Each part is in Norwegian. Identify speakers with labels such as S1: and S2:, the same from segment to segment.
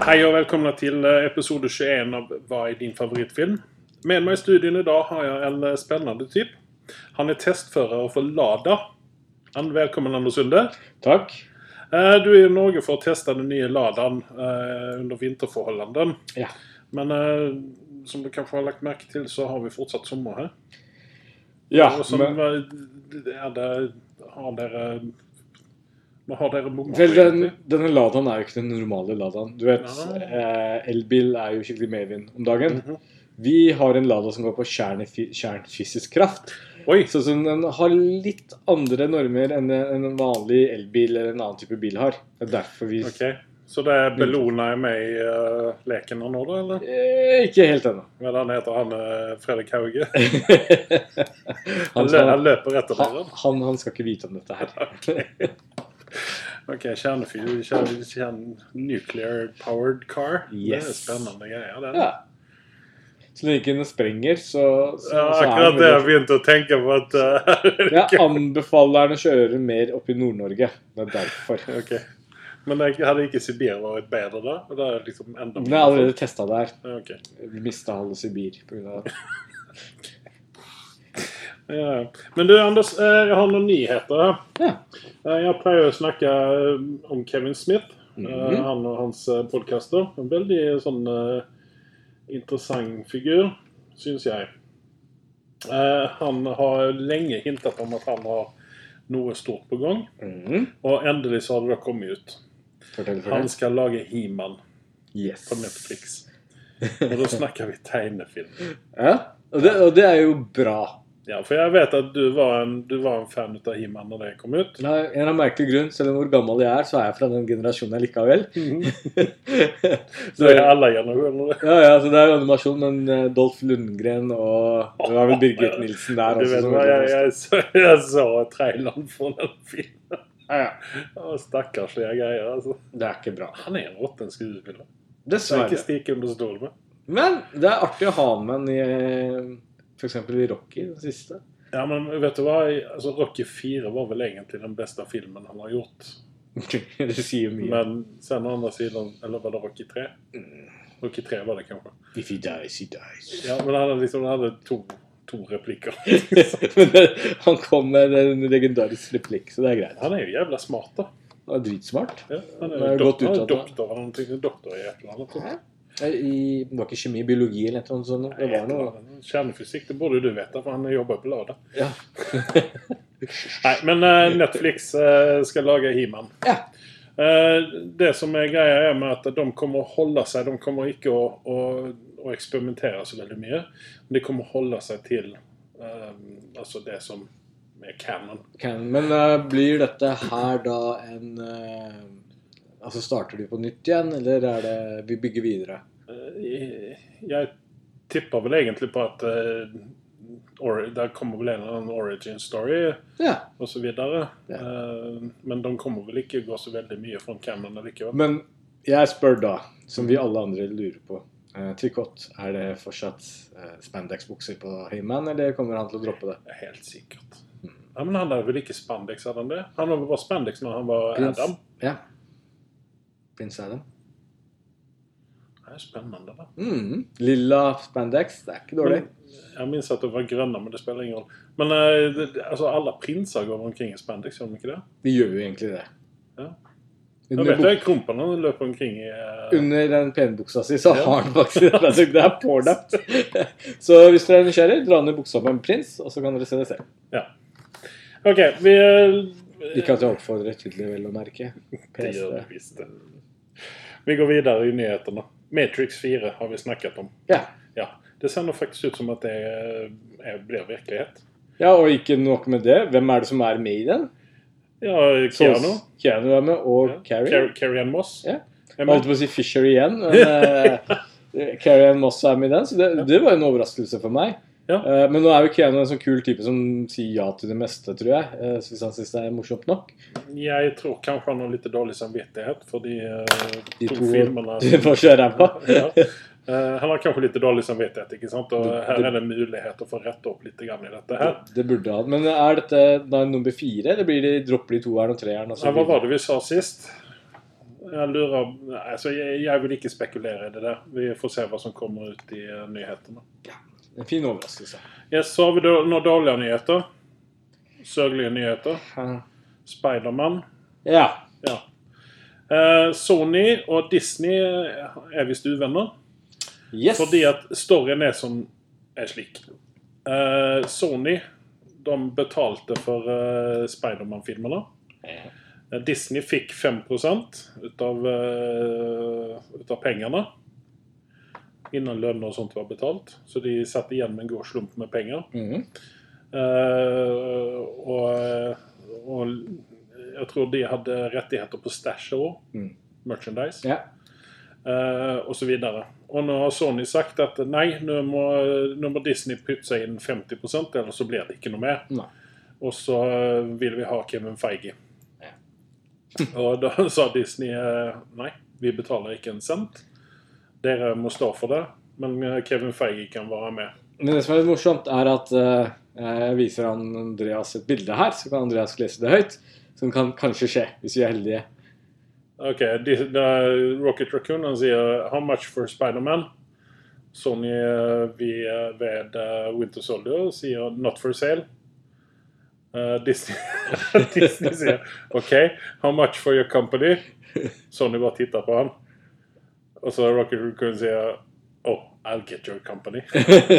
S1: Hej och välkomna till eh, episode 21 av Vad är din favoritfilm? Med mig i studion idag har jag en eh, spännande typ. Han är testförare för Lada. Han, välkommen Anders Sunde.
S2: Takk.
S1: Eh, Du er i Norge for å teste den nye Ladaen eh, under vinterforholdene.
S2: Ja.
S1: Men eh, som du kanskje har lagt merke til, så har vi fortsatt sommer her.
S2: Ja,
S1: Og som,
S2: men,
S1: eh, er det, har dere Hva har dere bommet
S2: vel,
S1: på
S2: den,
S1: egentlig?
S2: denne Ladaen er jo ikke den normale Ladaen. Du vet,
S1: Ja.
S2: eh, elbil er jo skikkelig medvind om dagen.
S1: Mhm.
S2: Vi har en Lada som går på kjernefi- kjernefysisk kraft.
S1: Oi!
S2: Så så den har litt andre normer enn en en vanlig elbil eller en annen type bil har. Det er derfor vi
S1: Ok. Så det er Bellona er med i eh, leken her nå, da? eller?
S2: eh, Ikke helt ennå.
S1: Hva er det han heter han eh, Fredrik Hauge?
S2: han,
S1: Han, lø han
S2: skal,
S1: løper etter
S2: han,
S1: dere.
S2: han, han skal ikke vite om dette her.
S1: Ok, kjernefyr kjern, kjern, Nuclear powered car. Det er
S2: Yes.
S1: spennende greier. det.
S2: Ja. Så lenge ikke den sprenger, så, så,
S1: Ja,
S2: så er
S1: akkurat
S2: den
S1: det
S2: veldig-
S1: jeg begynte å tenke på. at... eh,
S2: Jeg anbefaler den å kjøre mer opp i Nord-Norge. Det er derfor.
S1: ok. Men jeg hadde ikke Sibir vært bedre da? Og det er liksom enda
S2: Den er allerede testa der.
S1: Ja, ok.
S2: Vi mista halve Sibir pga.
S1: Ja. ja. Men du, Anders, eh, jeg har noen nyheter. her.
S2: Ja.
S1: Eh, Jeg pleier å snakke eh, om Kevin Smith, eh,
S2: Mhm.
S1: han og hans eh, podcaster. En veldig sånn eh, interessant figur, syns jeg. Eh, Han har lenge hintet om at han har noe stort på gang,
S2: Mm.
S1: og endelig så har det da kommet ut.
S2: Fortell for
S1: Han
S2: deg.
S1: skal lage He-Man
S2: Yes.
S1: på Netflix. Og da snakker vi tegnefilm.
S2: Ja. Og, det, og det er jo bra.
S1: Ja, for jeg vet at du var en, du var en fan av He-Man når det kom ut.
S2: Men av en eller annen merkelig grunn, selv om hvor gammel jeg er, så er jeg fra den generasjonen jeg likevel.
S1: Så
S2: så,
S1: det er alle generasjoner.
S2: ja, ja, så det er jo animasjon, men eh, Dolph Lundgren og Det var vel Birgit Nilsen der
S1: Du
S2: også.
S1: vet
S2: som-
S1: hva, jeg, jeg, så, jeg så traileren for den filmen.
S2: Ja, ja.
S1: Å, Stakkarslige greier. altså.
S2: Det er ikke bra.
S1: Han er en råtten skuespiller. alltså. Så ikke
S2: Dessverre.
S1: stikk under stol med.
S2: Men det er artig å ha med en i f.eks. i Rocky, den siste.
S1: Ja, men vet du hva? Altså, Rocky 4 var vel egentlig den beste filmen han har gjort.
S2: det sier mye.
S1: Men sen å andra sidan, eller var det Rocky 3? Rocky 3 var det kanskje.
S2: Mm. If he dies, he dies.
S1: Ja, men han hadde liksom han hadde to, to replikker.
S2: Men det- han kom med en legendarisk replikk, så det er greit.
S1: Han er jo jævla smart, da.
S2: Han er dritsmart.
S1: Ja, han er
S2: Han er
S1: jo
S2: jo godt
S1: doktor, han er
S2: utdannet.
S1: doktor, han er doktor i et eller annet. tror jeg.
S2: Eh, I, det var ikke kjemi, biologi eller noe sånt? noe. Det var noe
S1: Kjernefysikk, det burde du vite, for han jobber på Lada.
S2: Ja.
S1: Nei, men eh, Netflix eh, skal lage He-Man.
S2: Ja.
S1: Eh, det som er greia, er med at de kommer å holde seg De kommer ikke å, å, å eksperimentere så veldig mye. Men de kommer å holde seg til eh, altså det som er canon.
S2: Kan- Men eh, blir dette her da en eh, Altså starter de på nytt igjen, eller er det vi bygger videre?
S1: Eh, jeg tipper vel egentlig på at eh, ori- der kommer vel en eller annen origin story.
S2: Ja.
S1: og så videre.
S2: Ja.
S1: Eh, Men de kommer vel ikke gå så veldig mye fra Cameron likevel.
S2: Men jeg spør da, som vi alle andre lurer på. eh, Trikot, er det fortsatt eh, spandex-bukser på Heyman, eller kommer han til å droppe det?
S1: Helt sikkert. Ja, men han hadde vel ikke spandex, hadde han det? Han hadde bare spandex når han var
S2: Prins.
S1: Adam.
S2: Ja. Prins Adam.
S1: Det er spennende, da.
S2: Mm. Lilla spandex, det er ikke dårlig.
S1: Men, jeg minnes at det var grønne, men det spiller ingen rolle. Men eh, det, det- altså, alle prinser går omkring i spandex, gjør de ikke det?
S2: De gjør jo egentlig det.
S1: Ja. Jeg
S2: Under,
S1: vet
S2: buk-
S1: det, Krumpene løper omkring i eh,
S2: under den penbuksa si så
S1: Ja.
S2: har han faktisk en spandex. Det er pålagt. Så hvis dere er nysgjerrig, dra ned buksa på en prins, og så kan dere se det selv.
S1: OK, vi eh,
S2: Ikke at jeg oppfordrer til det, vel å merke.
S1: Det gjør det
S2: PS.
S1: visst. det. Vi går videre i nyhetene. Matrix 4 har vi snakket om.
S2: Ja.
S1: Ja, Det ser nå faktisk ut som at det eh, blir virkelighet.
S2: ja, og ikke nok med det. Hvem er det som er med i den?
S1: Ja,
S2: Så
S1: Keanu.
S2: Keanu er med, og
S1: Ja.
S2: Carrie.
S1: Car- Carrie Ann Moss.
S2: Ja.
S1: Er
S2: Jeg holdt
S1: med.
S2: på å si Fisher igjen. men, eh, Carrie Ann Moss er med i den, så det, det var en overraskelse for meg.
S1: Ja.
S2: Eh, men nå er jo Keanu en sånn kul type som sier ja til det meste, tror jeg. eh, så hvis han syns det er morsomt nok.
S1: Jeg tror kanskje han har litt dårlig samvittighet for de, eh,
S2: De
S1: to,
S2: to-
S1: filmene.
S2: Du får kjøre ræva.
S1: ja. Eh, han har kanskje litt dårlig samvittighet, ikke sant? og
S2: Det-
S1: her
S2: det-
S1: er det mulighet å få rette opp litt grann i dette. her.
S2: Det burde han. Men er dette da nummer fire, eller Alltså, blir de dropper de toeren og treeren? og så
S1: Ja, hva
S2: videre?
S1: var det vi sa sist? Jeg lurer Nei, altså, jeg, jeg vil ikke spekulere i det der. Vi får se hva som kommer ut i eh, nyhetene.
S2: En fin overraskelse.
S1: Yes, så har vi då- noen dårlige nyheter. Sørgelige nyheter. Spiderman.
S2: Ja.
S1: Ja. Eh, Sony og Disney eh, er visst uvenner.
S2: Yes.
S1: Fordi at storyen er som er slik. Eh, Sony de betalte for eh, Spiderman-filmene.
S2: Ja.
S1: Eh, Disney fikk 5 utav, eh, utav pengene. Innan lønner og sånt var betalt. Så de satt igjen med en god slump med penger.
S2: Mhm.
S1: Eh, og, og jeg tror de hadde rettigheter på stæsj òg.
S2: Mm.
S1: Merchandise
S2: ja.
S1: eh, og så videre. Og nå har Sony sagt at nei, nå må, nå må Disney putte inn 50 eller så blir det ikke noe mer.
S2: Nei.
S1: Og så eh, vil vi ha Kevin Feige.
S2: Ja.
S1: og da sa Disney eh, nei, vi betaler ikke en cent. Dere må stå for det, men eh, Kevin Feige kan være med.
S2: Men det som er litt morsomt, er at eh, jeg viser han Andreas et bilde her, så kan Andreas lese det høyt. Som kan kanskje skje, hvis vi er heldige.
S1: Ok, Dis- da- Rocket Raccoon han sier How much for Spiderman? Sony eh, vi, eh, ved eh, Winter Soldier sier Not for sale. Eh, Disney, Disney sier OK, how much for your company? Sony bare tittar på han. Og så Rocket Raccoon sier Oh, I'll get your company.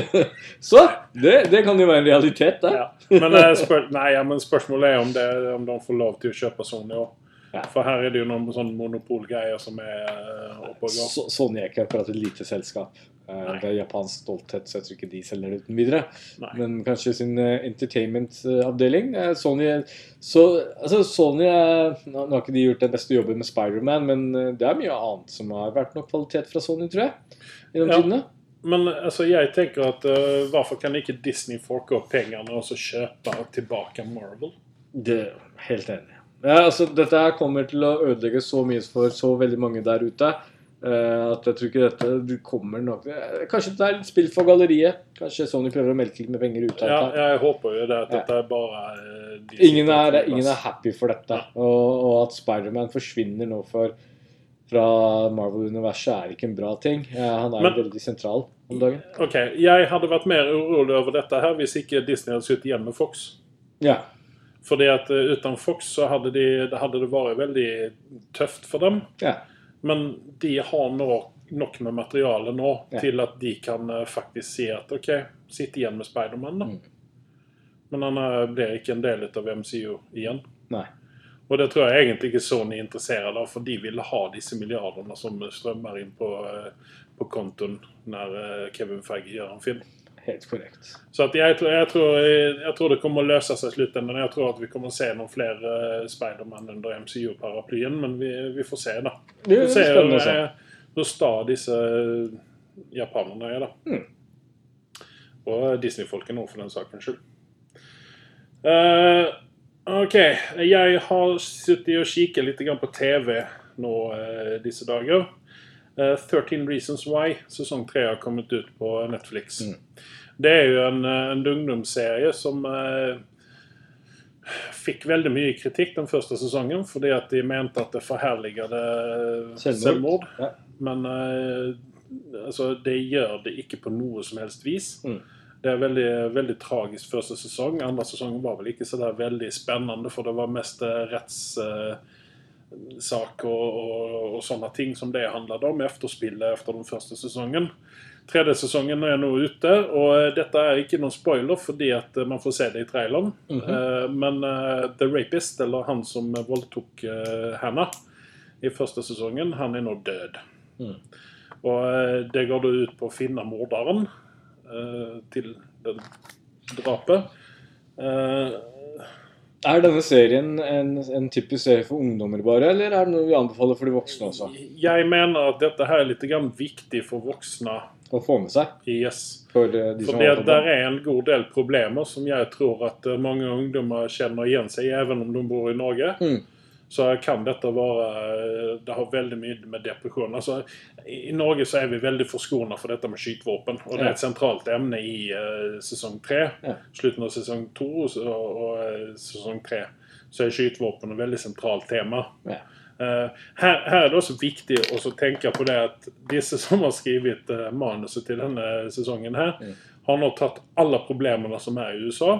S2: så det, det kan jo være en realitet, det.
S1: Ja. Men, eh, spør, nei, ja, men spørsmålet er om, det, om de får lov til å kjøpe Sony òg.
S2: Ja.
S1: For her er det jo noen sånn monopolgreier som er eh, oppe og går.
S2: Så, Sony er ikke akkurat et lite selskap. Eh,
S1: Nei.
S2: det er japansk stolthet, så jeg tror ikke de selger det uten videre.
S1: Nei.
S2: Men kanskje sin eh, entertainment-avdeling. Eh, Sony, så, altså Sony eh, Nå nå har ikke de gjort den beste jobben med Spiderman, men eh, det er mye annet som har vært nok kvalitet fra Sony, tror jeg. Gjennom
S1: Ja.
S2: tidene.
S1: Men alltså, altså, jeg tenker at eh, hvorfor kan ikke Disney forke opp pengene og så kjøpe tilbake Marvel?
S2: Det Helt enig. Ja, altså, dette her kommer til å ødelegge så mye for så veldig mange der ute. eh, At jeg tror ikke dette du kommer nok eh, Kanskje det er et spill for galleriet. Kanskje Sony prøver å melke litt med penger ut av
S1: Ja,
S2: dette.
S1: jeg håper jo det at
S2: Ja.
S1: dette er bare eh, Disney-
S2: Ingen er, ingen er happy for dette. Og, og at Spiderman forsvinner nå for, fra Marvel-universet, er ikke en bra ting. Eh, Han er
S1: Men-
S2: jo veldig sentral om dagen.
S1: Ok, Jeg hadde vært mer urolig over dette her hvis ikke Disney hadde sittet igjen med Fox.
S2: Ja.
S1: Fordi at eh, uten Fox så hadde, de, det hadde det vært veldig tøft for dem.
S2: ja.
S1: Men de har nå nok med materiale nå
S2: Ja.
S1: til at de kan eh, faktisk si at OK, sitt igjen med Spiderman, da.
S2: Mm.
S1: Men han eh, blir ikke en del av MCU igjen.
S2: Nei.
S1: Og det tror jeg egentlig ikke Sony er interessert av, for de ville ha disse milliardene som strømmer inn på, eh, på kontoen når eh, Kevin Feige gjør en film.
S2: Helt korrekt.
S1: Så at jeg, tror, jeg, tror, eh, jeg tror det kommer å løse seg i slutten. Jeg tror at vi kommer å se noen flere eh, Spiderman under MCU-paraplyen, men vi, vi får se, da.
S2: Det
S1: Vi
S2: er
S1: får se
S2: spennende å se.
S1: eh, hvor sta disse eh, japanerne er, da. Og Disney-folkene òg, for den saken skyld. Eh, OK. Jeg har sittet og kikket litt grann på TV nå eh, disse dager. Eh, 13 Reasons Why, sesong 3, har kommet ut på Netflix.
S2: Mm.
S1: Det er jo en, eh, en ungdomsserie som eh, fikk veldig mye kritikk den første sesongen fordi at de mente at det eh, forherligede
S2: Selvmord.
S1: selvmord.
S2: Ja.
S1: Men eh, altså, det gjør det ikke på noe som helst vis.
S2: Mm.
S1: Det er veldig, veldig tragisk første sesong. Andre sesong var vel ikke så der veldig spennende, for det var mest eh, rettssak og, og, og sånne ting som det handlet om. Efterspillet etter den første sesongen. Tredje sesongen er nå ute, og eh, dette er ikke noen spoiler fordi at eh, man får se det i traileren.
S2: Mhm.
S1: Eh, Men eh, The Rapist, eller han som voldtok eh, henne i første sesongen, han er nå død.
S2: Mm.
S1: Og eh, det går da ut på å finne morderen eh, til det drapet. Eh,
S2: Er denne serien en, en typisk serie for ungdommer bare, eller er det noe vi anbefaler for de voksne også?
S1: Jeg mener at dette her er litt grann viktig for voksne.
S2: Å få med seg?
S1: Yes.
S2: For eh, de som
S1: Fordi
S2: har
S1: at der
S2: det.
S1: er en god del problemer som jeg tror at eh, mange ungdommer kjenner igjen seg i, even om de bor i Norge.
S2: Mm.
S1: Så kan dette være eh, Det har veldig mye med depresjon altså, I i Norge så er vi veldig forskåna for dette med skytevåpen. Og det er et sentralt emne i eh, sesong tre.
S2: Ja.
S1: Slutten av sesong to og, og eh, sesong tre så er skytevåpen et veldig sentralt tema.
S2: Ja.
S1: Eh, her, her er det også viktig å så tenke på det at disse som har skrevet eh, manuset til denne sesongen, her,
S2: Mm.
S1: har nå tatt alle problemene som er i USA.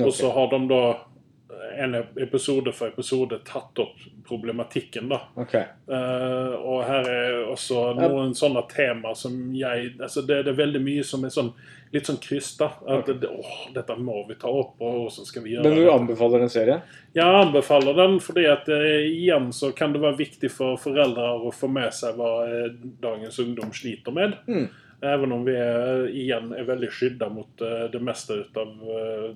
S1: Og så har de da eh, en episode for episode tatt opp problematikken. da.
S2: Ok.
S1: Eh, og her er også noen sånne tema som jeg altså det, det er veldig mye som er sånn, litt sånn krysta. At
S2: Ok.
S1: det, åh, dette må vi ta opp, og hvordan skal vi gjøre
S2: Men du
S1: det?
S2: anbefaler den serien?
S1: Jeg anbefaler den fordi at eh, igjen så kan det være viktig for foreldre å få med seg hva eh, dagens ungdom sliter med.
S2: Mm.
S1: Even om vi er, igjen er veldig skydda mot eh, det meste ut av eh,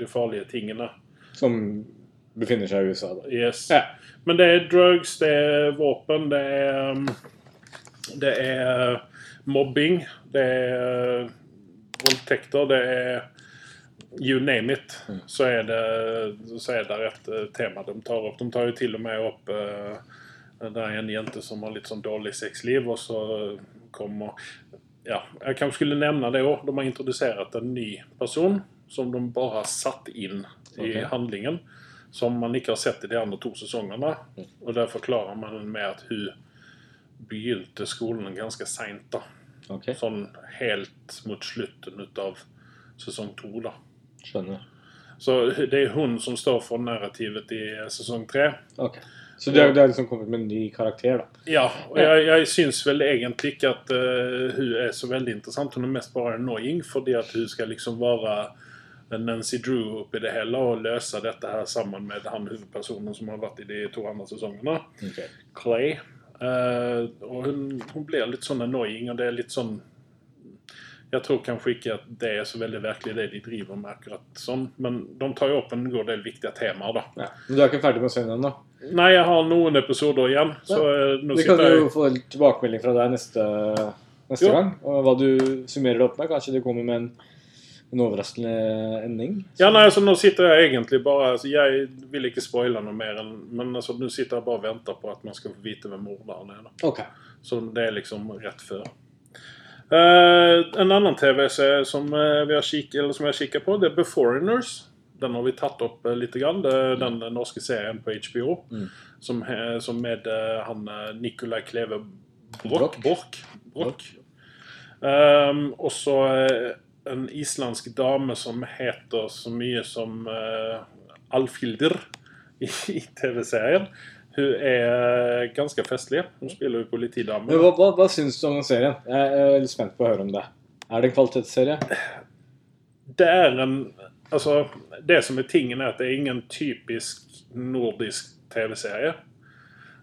S1: de farlige tingene.
S2: Som befinner seg i USA, da.
S1: Yes.
S2: Ja.
S1: Men det er drugs, det er våpen, det er um, Det er mobbing, det er uh, voldtekter, det er You name it, så er det, så er det et uh, tema de tar opp. De tar jo til og med opp uh, Det er en jente som har litt sånn dårlig sexliv, og så kommer ja, Jeg kanskje skulle nevne det òg. De har introdusert en ny person som de bare har satt inn i
S2: Ok.
S1: handlingen. Som man ikke har sett i de andre to sesongene. Og der forklarer man med at hun begynte skolen ganske seint.
S2: Ok,
S1: Sånn helt mot slutten ut av sesong to. da.
S2: skjønner.
S1: Så det er hun som står for narrativet i sesong tre.
S2: Ok. Så det er, det er liksom kommet med en ny karakter, da.
S1: Ja, og jeg, jeg syns vel egentlig ikke at eh, hun er så veldig interessant. Hun er mest bare annoying fordi at hun skal liksom være Nancy Drew oppi det hele og løse dette her sammen med han hovedpersonen som har vært i de to andre sesongene,
S2: Ok.
S1: Clay. Eh, og hun, hun blir litt sånn annoying, og det er litt sånn Jeg tror kanskje ikke at det er så veldig virkelig det de driver med akkurat sånn, men de tar jo opp en god del viktige temaer, da.
S2: Ja. Men du er ikke ferdig med å se den ennå?
S1: Nei, jeg har noen episoder igjen, så eh, nå
S2: Mm. Vi kan
S1: sitter jeg
S2: jo få litt tilbakemelding fra deg neste, neste
S1: Jo.
S2: gang. Og hva du summerer det opp med. Kanskje det kommer med en, en overraskende ending.
S1: Ja, nei, altså nå sitter jeg egentlig bare altså, Jeg vil ikke spoile noe mer, enn, men altså, nå sitter jeg bare og venter på at man skal få vite hvem morderen er. Da.
S2: Ok.
S1: Så det er liksom rett før. Eh, en annen TV-serie som, eh, vi har kik- eller som jeg kikker på, det er Beforeigners. Den har vi tatt opp eh, litt. Grann. Det er den norske serien på HBO
S2: Mm.
S1: som, eh, som med eh, han eh, Nicolai Kleve Broch.
S2: Broch.
S1: Broch. Broch. Ehm, og så eh, en islandsk dame som heter så mye som eh, Alfhildur i, i TV-serien. Hun er ganske festlig. Hun spiller jo politidame.
S2: Men hva, hva, hva syns du om den serien? Jeg er litt spent på å høre om det. Er det en kvalitetsserie?
S1: det er en Altså, det som er tingen, er at det er ingen typisk nordisk TV-serie.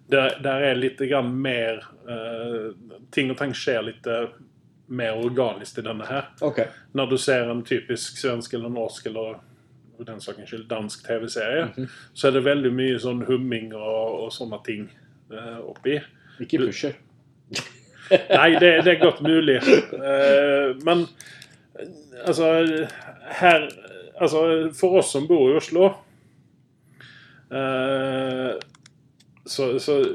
S1: Der, der er litt grann mer eh, Ting og tang skjer litt mer organisk i denne her.
S2: Ok.
S1: Når du ser en typisk svensk eller norsk eller for den sakens skyld dansk TV-serie, så er det veldig mye sånn humming og, og sånne ting eh, oppi.
S2: Ikke pusher.
S1: Nei, det, det er godt mulig. Eh, men eh, altså Her Altså, for alltså, oss som bor i Oslo eh, så, så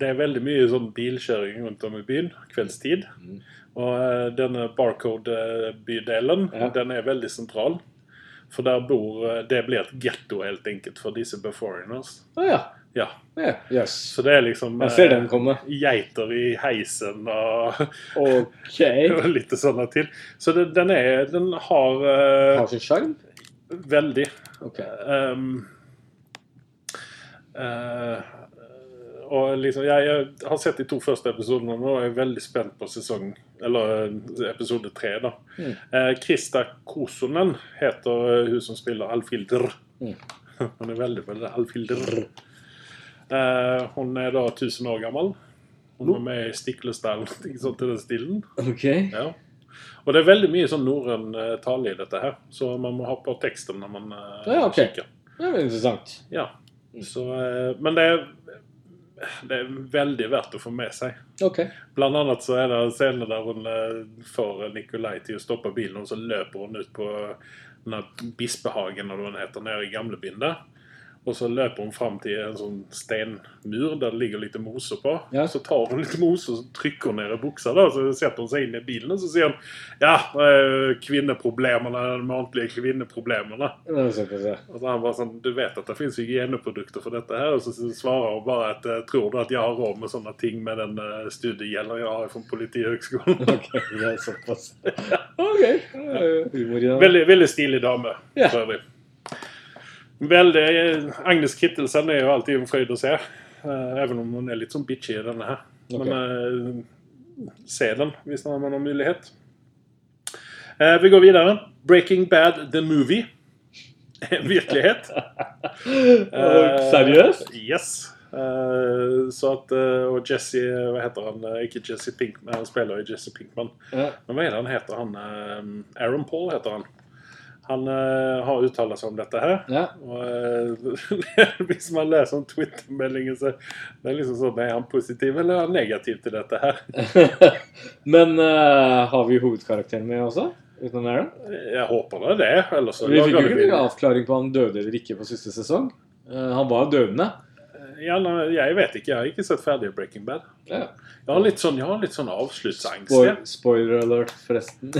S1: det er veldig mye sånn bilkjøring rundt om i byen kveldstid.
S2: Mm.
S1: Og eh, denne Barcode-bydelen,
S2: Ja.
S1: den er veldig sentral. For der bor eh, Det blir et getto, helt enkelt, for disse beforeigners.
S2: Å Ah, ja.
S1: Ja.
S2: ja. Yes.
S1: Så det er liksom
S2: Jeg ser
S1: eh,
S2: den komme.
S1: geiter i heisen og
S2: Ok.
S1: og litt sånne til. Så det, den er Den har eh,
S2: Har sin sjarm?
S1: veldig
S2: Ok.
S1: ehm, eh, Og liksom jeg, jeg har sett de to første episodene nå og jeg er veldig spent på sesong Eller eh, episode tre, da.
S2: Mm.
S1: Eh, Krista Kosonen heter eh, hun som spiller Alfhildur.
S2: Mm.
S1: Hun er veldig veldig Alfhildur. Eh, hun er da 1000 år gammel. Hun var med i Stiklestad eller noe sånt i den stilen.
S2: Ok.
S1: Ja. Og det er veldig mye sånn norrøn eh, tale i dette her, så man må ha på teksten når man eh,
S2: Ja, Mm. ok.
S1: kikker.
S2: Det er interessant.
S1: Ja. Så, eh, men det er, det er veldig verdt å få med seg.
S2: Ok.
S1: Blant annet så er det en scene der hun eh, får Nikolai til å stoppe bilen, og så løper hun ut på denne Bispehagen, eller hva den heter, nede i gamlebyen der. Og så løper hun fram til en sånn stenmur der det ligger litt mose på.
S2: Ja.
S1: Så tar hun litt mose og så trykker hun ned i buksa. da, Så setter hun seg inn i bilen og så sier hun, ja, eh, kvinneproblemene, de ordentlige kvinneproblemene.
S2: Ja, så får vi se.
S1: Og så han bare sånn, Du vet at det fins hygieneprodukter for dette her? Og så svarer hun bare at eh, tror du at jeg har råd med sånne ting med den eh, studiegjelden jeg har fra Politihøgskolen?
S2: Ok, det er såpass. Ok. eh, Humor i det.
S1: Veldig, veldig stilig dame,
S2: Ja.
S1: for øvrig. Veldig, eh, Agnes Kittelsen er jo alltid en fryd å se. eh, Even om hun er litt sånn bitchy i denne her.
S2: Ok.
S1: Men eh, se den hvis man har mulighet. Eh, vi går videre. 'Breaking Bad The Movie'. En virkelighet.
S2: Eh, Seriøst?
S1: Eh, yes. Eh, så at, eh, og Jesse Hva heter han? Eh, Ikke Jesse Pinkman, han spiller jo Jesse Pinkman.
S2: Ja.
S1: Men hva er det han heter? Han, eh, Aaron Paul heter han. Han eh, har uttalt seg om dette her.
S2: Ja.
S1: Og eh, Hvis man leser om Twitter-meldinger, så det er liksom sånn Er han positiv eller er han negativ til dette her?
S2: Men eh, har vi hovedkarakteren med også? Utenom Aaron?
S1: Jeg håper det er det. Ellers så
S2: Vi fikk jo
S1: lager
S2: ikke
S1: det
S2: noen avklaring på om han døde eller ikke på siste sesong. Eh, han var jo døvende.
S1: ja, nei, Jeg vet ikke. Jeg har ikke sett ferdig Breaking Bad.
S2: Ja.
S1: Jeg har litt sånn, jeg har litt sånn avsluttsangst.
S2: Spoil,
S1: jeg.
S2: spoiler alert, forresten.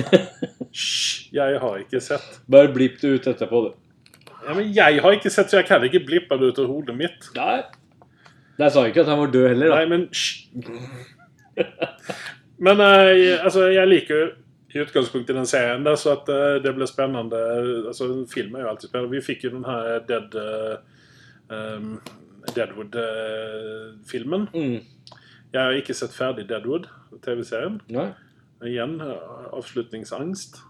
S1: Hysj! Jeg har ikke sett.
S2: Bare blipp det ut etterpå, du.
S1: Ja, men jeg har ikke sett, så jeg kan ikke blippe det ut av hodet mitt.
S2: Nei. Jeg sa ikke at han var død heller, da.
S1: Nei, men hysj! Men eh, altså, jeg liker jo i utgangspunktet den serien, der, så at eh, det blir spennende. Altså, en Film er jo alltid spennende. Vi fikk jo den her Dead, eh, um, Deadwood-filmen.
S2: Mm.
S1: jeg eh, har ikke sett ferdig Deadwood, TV-serien.
S2: Nei.
S1: Igjen eh, avslutningsangst.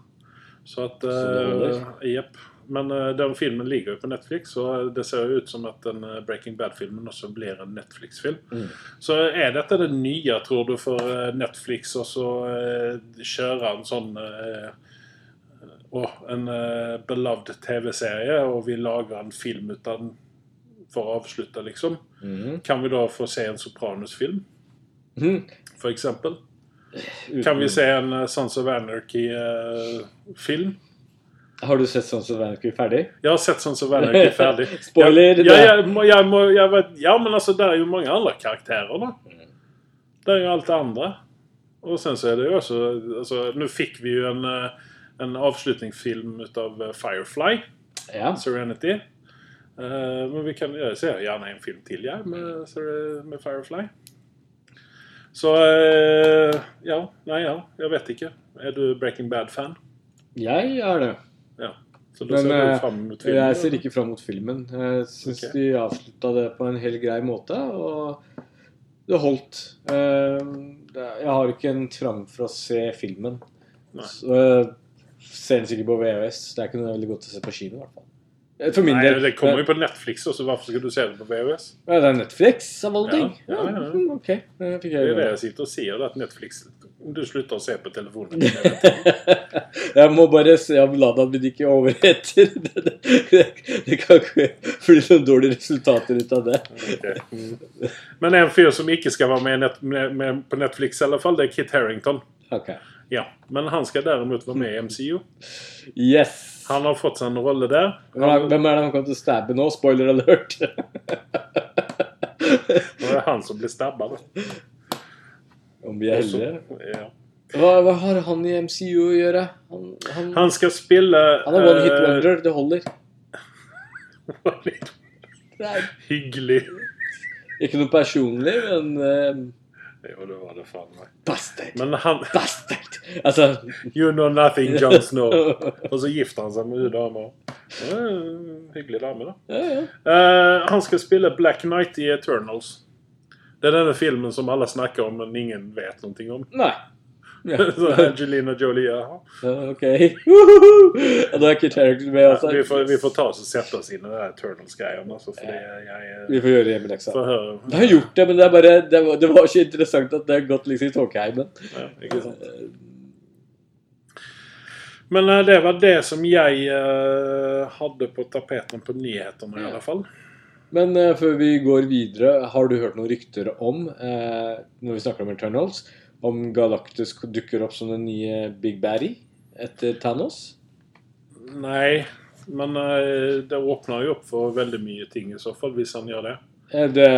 S1: Så at
S2: Så det holder.
S1: eh, Jepp. Men eh, den filmen ligger jo på Netflix, og det ser jo ut som at den eh, Breaking Bad-filmen også blir en Netflix-film.
S2: Mm.
S1: Så er dette det nye, tror du, for eh, Netflix og så eh, kjøre en sånn eh, å, en eh, beloved TV-serie, og vi lager en film ut av den for å avslutte, liksom?
S2: Mhm.
S1: Kan vi da få se en Sopranos-film,
S2: Mhm.
S1: f.eks.? Kan
S2: Uten-
S1: vi se en eh, Sons of eh, Anarchy-film?
S2: Har du sett Sons of Anarchy ferdig?
S1: Jeg har sett sånn som vel er ikke ferdig.
S2: Spoiler,
S1: Jeg,
S2: det
S1: jeg,
S2: er-
S1: jeg, må, jeg, må, jeg vet, ja, men alltså, altså, det er jo mange andre karakterer, da.
S2: Mm.
S1: Det er jo alt det andre. Og sen så er det jo også altså, Nå fikk vi jo en, eh, en avslutningsfilm ut av eh, Firefly,
S2: Ja.
S1: Serenity. Eh, men vi kan jeg ser gjerne en film til, jeg, med, Ser- med Firefly. Så eh, Ja. Nei, ja. Jeg vet ikke. Er du Breaking Bad-fan?
S2: Jeg er det.
S1: Ja. Så da ser
S2: Men,
S1: du
S2: eh,
S1: fram mot filmen?
S2: Jeg ser ikke fram mot filmen. Jeg syns
S1: Ok.
S2: de avslutta det på en helt grei måte, og det holdt. Eh, det- Jeg har ikke en trang for å se filmen.
S1: Nei.
S2: Så, eh, Ser den sikkert på VHS. Det er ikke noe veldig godt å se på kino, i hvert fall. Eh, For min
S1: Nei,
S2: del.
S1: det kommer jo på Netflix, og så hvorfor skal du se det på VHS?
S2: Ja, det er Netflix av alle
S1: Ja,
S2: ting.
S1: ja, ja, ja.
S2: mm, Ok. Det fikk
S1: Det
S2: jeg
S1: er det
S2: gjøre.
S1: jeg sitter og sier, det at Netflix Du slutter å se på telefonen. din.
S2: Jeg må bare se om Ladan min ikke overheter. Det, det, det, det kan ikke bli noen dårlige resultater ut av det.
S1: Ok. Men en fyr som ikke skal være med, i net med, med på Netflix, i alle fall, det er Kit Harrington.
S2: Ok.
S1: Ja, Men han skal derimot være
S2: Mm.
S1: med i MCU.
S2: Yes.
S1: Han har fått seg en rolle der.
S2: Hvem er,
S1: Han,
S2: hvem er det han kommer til å stabbe nå? Spoiler alert.
S1: det er han som blir stabba. da.
S2: Om vi er heldige.
S1: Ja.
S2: Hva, hva har han i MCU å gjøre? Han, han,
S1: Han skal spille
S2: han er one hit
S1: eh,
S2: wonder. Det holder.
S1: var litt
S2: Det er
S1: hyggelig.
S2: ikke noe personlig, men eh,
S1: Jo, det var det faen meg.
S2: Bastard!
S1: Men han
S2: Bastard! Alltså, Altså
S1: You know nothing, John Snow. Og så gifter han seg med hun dama. Det er en Hyggelig dame, da.
S2: ja, ja.
S1: Eh, han skal spille Black Knight i Eternals. Det er denne filmen som alle snakker om, men ingen vet noe om.
S2: Nei. Ja.
S1: Så Angelina Jolie ja.
S2: Ja, Ok. Woohoo! Og da er ikke Tarek med også.
S1: vi, får, vi får ta oss og sette oss inn i det der Eternals-greiene. Altså, fordi jeg eh,
S2: Vi får gjøre hjemmeleksa.
S1: får høre
S2: Det har gjort det, men det, er bare, det, var, det var så interessant at det har gått liksom i tåkeheimen.
S1: ja, ikke sant? Men eh, det var det som jeg eh, hadde på tapeten på nyhetene, i
S2: Ja.
S1: alle fall.
S2: Men eh, før vi går videre, har du hørt noen rykter om, eh, når vi snakker om Eternals, om Galactus dukker opp som den nye Big Baddy etter Thanos?
S1: Nei, Men eh, det åpner jo opp for veldig mye ting i så fall, hvis han gjør det.
S2: Eh, Det,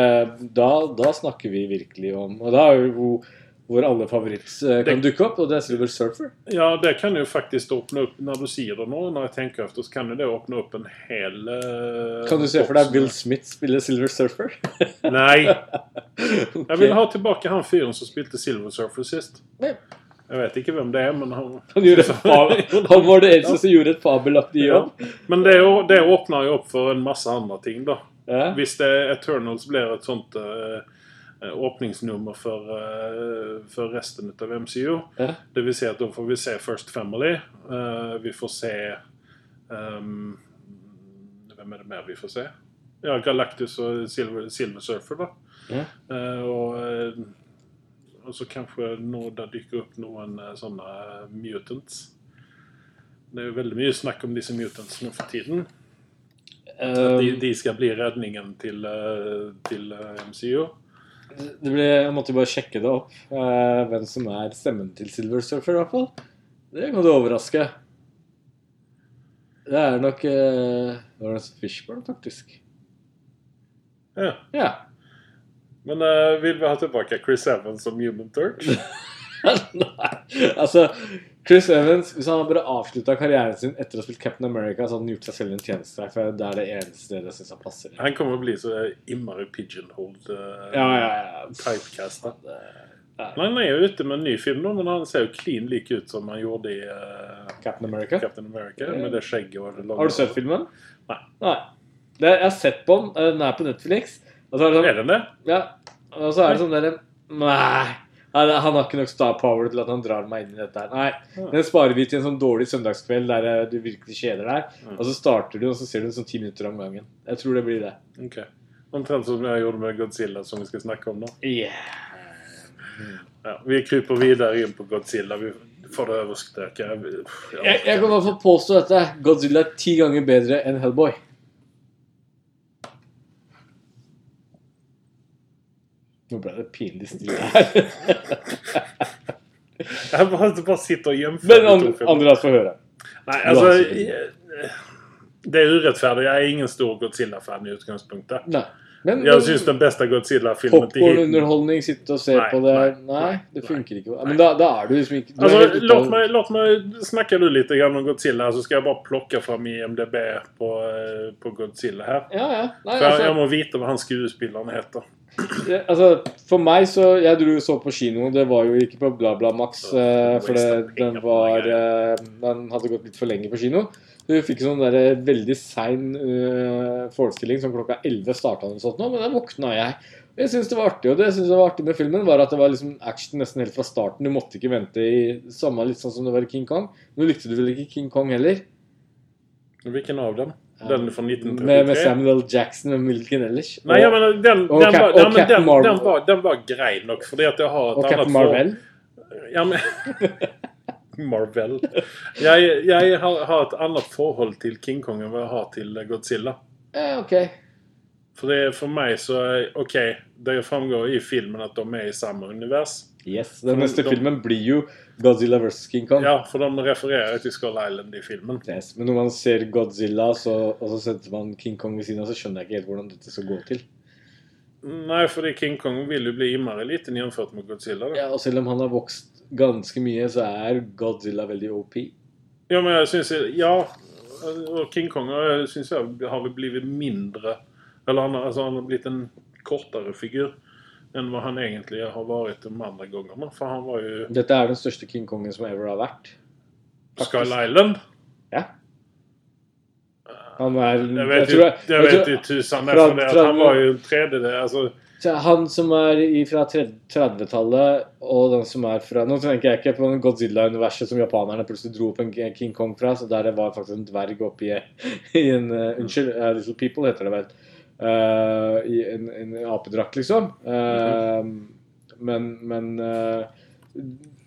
S2: da, da snakker vi virkelig om Og da er jo hvor, hvor alle favoritt eh, kan dukke opp, og det er Silver Surfer.
S1: Ja, det kan jo faktisk åpne opp Når du sier det nå, når jeg tenker efter, så kan jo det åpne opp en hel eh,
S2: Kan du se for deg
S1: boks
S2: Will
S1: med-
S2: Smith spille Silver Surfer?
S1: Nei. Jeg vil
S2: Ok.
S1: ha tilbake han fyren som spilte Silver Surfer sist.
S2: Ja.
S1: Jeg vet ikke hvem det er, men han
S2: Han, gjorde et fabel, han var den eneste som gjorde et fabelaktig jobb.
S1: Ja. Men det, er jo- det åpner jo opp for en masse andre ting, da.
S2: Ja.
S1: Hvis det Eternals blir et sånt eh, åpningsnummer for, eh, for resten av MCU.
S2: Ja.
S1: Det vil si at da får vi se First Family. eh, vi får se ehm, Hvem er det mer vi får se? Ja, Galactus og Silver, Silver Surfer, da.
S2: Ja.
S1: Eh, og, eh, og så kanskje nå det dukker opp noen eh, sånne mutants. Det er jo veldig mye snakk om disse mutants nå for tiden.
S2: Eh,
S1: De, de skal bli redningen til, eh, til eh, MCU.
S2: det ble, jeg måtte bare sjekke det opp, eh, hvem som er stemmen til Silver Surfer, i hvert fall. Det kan du overraske. Det er nok eh, Lawrence Fishburne, faktisk.
S1: Ja.
S2: Ja.
S1: Men eh, vil vi ha tilbake Chris Evans som Human Turk?
S2: Nei, altså Alltså, Chris Evans, hvis han hadde bare avslutta karrieren sin etter å ha spilt Captain America, så hadde han gjort seg selv en tjeneste. For det er det eneste stedet jeg syns han passer. inn.
S1: Han kommer å bli så innmari pigeonholed uh,
S2: Ja, ja, ja.
S1: typecasta.
S2: Nei.
S1: Men han er jo ute med en ny film nå, men han ser jo clean like ut som han gjorde i eh,
S2: Captain America.
S1: Captain America. Med det skjegget og det lange
S2: Har du sett filmen?
S1: Nei.
S2: Det, jeg har sett på den. eh, Den er på Netflix. Og så er det sånn,
S1: Er den det?
S2: ja, og så er det sånn der, Nei. Han han har ikke nok star power til at han drar meg inn i dette. her Nei,
S1: Ja.
S2: Den sparer vi til en sånn dårlig søndagskveld der eh, du virkelig kjeder deg.
S1: Mm.
S2: Og så starter du, og så ser du den sånn ti minutter om gangen. Jeg tror det blir det.
S1: Ok. Omtrent som jeg gjorde med Godzilla, som vi skal snakke om nå. Ja, vi kryper videre inn på Godzilla. Vi får det overstreket. Ja.
S2: Jeg, jeg kan i hvert fall påstå dette. Godzilla er ti ganger bedre enn Hellboy. Nå ble det pinlig stille her.
S1: Jeg bare, bare sitter og gjemmer
S2: Men
S1: de
S2: an,
S1: to filmene.
S2: Andreas får høre.
S1: Nei, altså
S2: Du har ikke-
S1: jeg- alltså, eh, Det er urettferdig. Jeg er ingen stor Godzilla-fan i utgangspunktet.
S2: Nei. Men,
S1: Jeg syns den beste Godzilla-filmen til hittil
S2: popkornunderholdning, sitte og se
S1: Nei,
S2: på det her
S1: nei,
S2: Nei,
S1: nei,
S2: det
S1: nei,
S2: funker ikke.
S1: nei.
S2: Men da, da er du liksom ikke du er helt
S1: Altså,
S2: ute
S1: Alltså, låt,
S2: av-
S1: meg, låt meg snakke du litt grann om Godzilla, så skal jeg bare plukke fram IMDb på, eh, på Godzilla her.
S2: Ja, alltså- ja. Nei,
S1: For jeg, jeg
S2: altså,
S1: må vite hva han skuespilleren heter.
S2: det- altså, for meg alltså, så Jeg dro og så på kino, det var jo ikke på BlaBlaMax, eh, for det, den var eh, Den hadde gått litt for lenge på kino. Du fikk sånn der veldig sein eh, forestilling som klokka 11 starta den og sånt nå, men da våkna jeg. Og Jeg synes det var artig, og det jeg synes det var artig med filmen, var at det var liksom action nesten helt fra starten. Du måtte ikke vente i samme litt sånn som det var i King Kong. Nå likte du vel ikke King Kong heller?
S1: Hvilken av dem? Den fra
S2: Med, med
S1: 1933?
S2: Samuel L. Jackson og Milken ellers.
S1: Nei, jeg mener, den, den,
S2: Og Cap-
S1: var,
S2: og
S1: ja, men
S2: Captain
S1: den,
S2: Marvel.
S1: den, var, den var grei nok, fordi at jeg har et
S2: og Captain
S1: forhold-
S2: Marvel.
S1: Ja, men Marvel. Jeg, jeg har, har et annet forhold til King Kong enn hva jeg har til Godzilla.
S2: Ja, ok.
S1: For, det, for meg så er OK, det framgår i filmen at de er i samme univers.
S2: Yes, Den
S1: Men
S2: neste
S1: de-
S2: filmen blir jo Godzilla vs. King Kong.
S1: Ja, for de refererer til Skull Island i filmen.
S2: Yes, men når man ser Godzilla, så, og så setter man King Kong ved siden av, så skjønner jeg ikke helt hvordan dette skal gå til.
S1: Nei, fordi King Kong vil jo bli innmari liten gjenført med Godzilla. Da.
S2: Ja, Og selv om han har vokst ganske mye, så er Godzilla veldig OP.
S1: Ja, men jeg synes, Ja, og King Kong syns jeg har blitt mindre Eller han, har- altså, han har blitt en kortere figur enn hva han egentlig har vært de andre gangene. For han var jo
S2: Dette er den største King Kongen som ever har vært. Faktisk.
S1: Skull Island.
S2: Ja. Han er
S1: Jeg vet
S2: Mm, tror
S1: jo
S2: jeg-
S1: jeg
S2: jeg
S1: vet
S2: tror-
S1: jo tusen
S2: fra-
S1: derfor det at
S2: fra-
S1: han var jo en Alltså, tredjedel altså,
S2: Så Han som er i- fra 30-tallet, og den som er fra Nå tenker jeg ikke på den Godzilla-universet som japanerne plutselig dro opp en King Kong fra, så der det var faktisk en dverg oppi i en eh,
S1: Mm.
S2: Unnskyld, eh, Little People heter det vel. Eh, I en, en apedrakt, liksom. Eh,
S1: Mm-hmm.
S2: Men, men eh,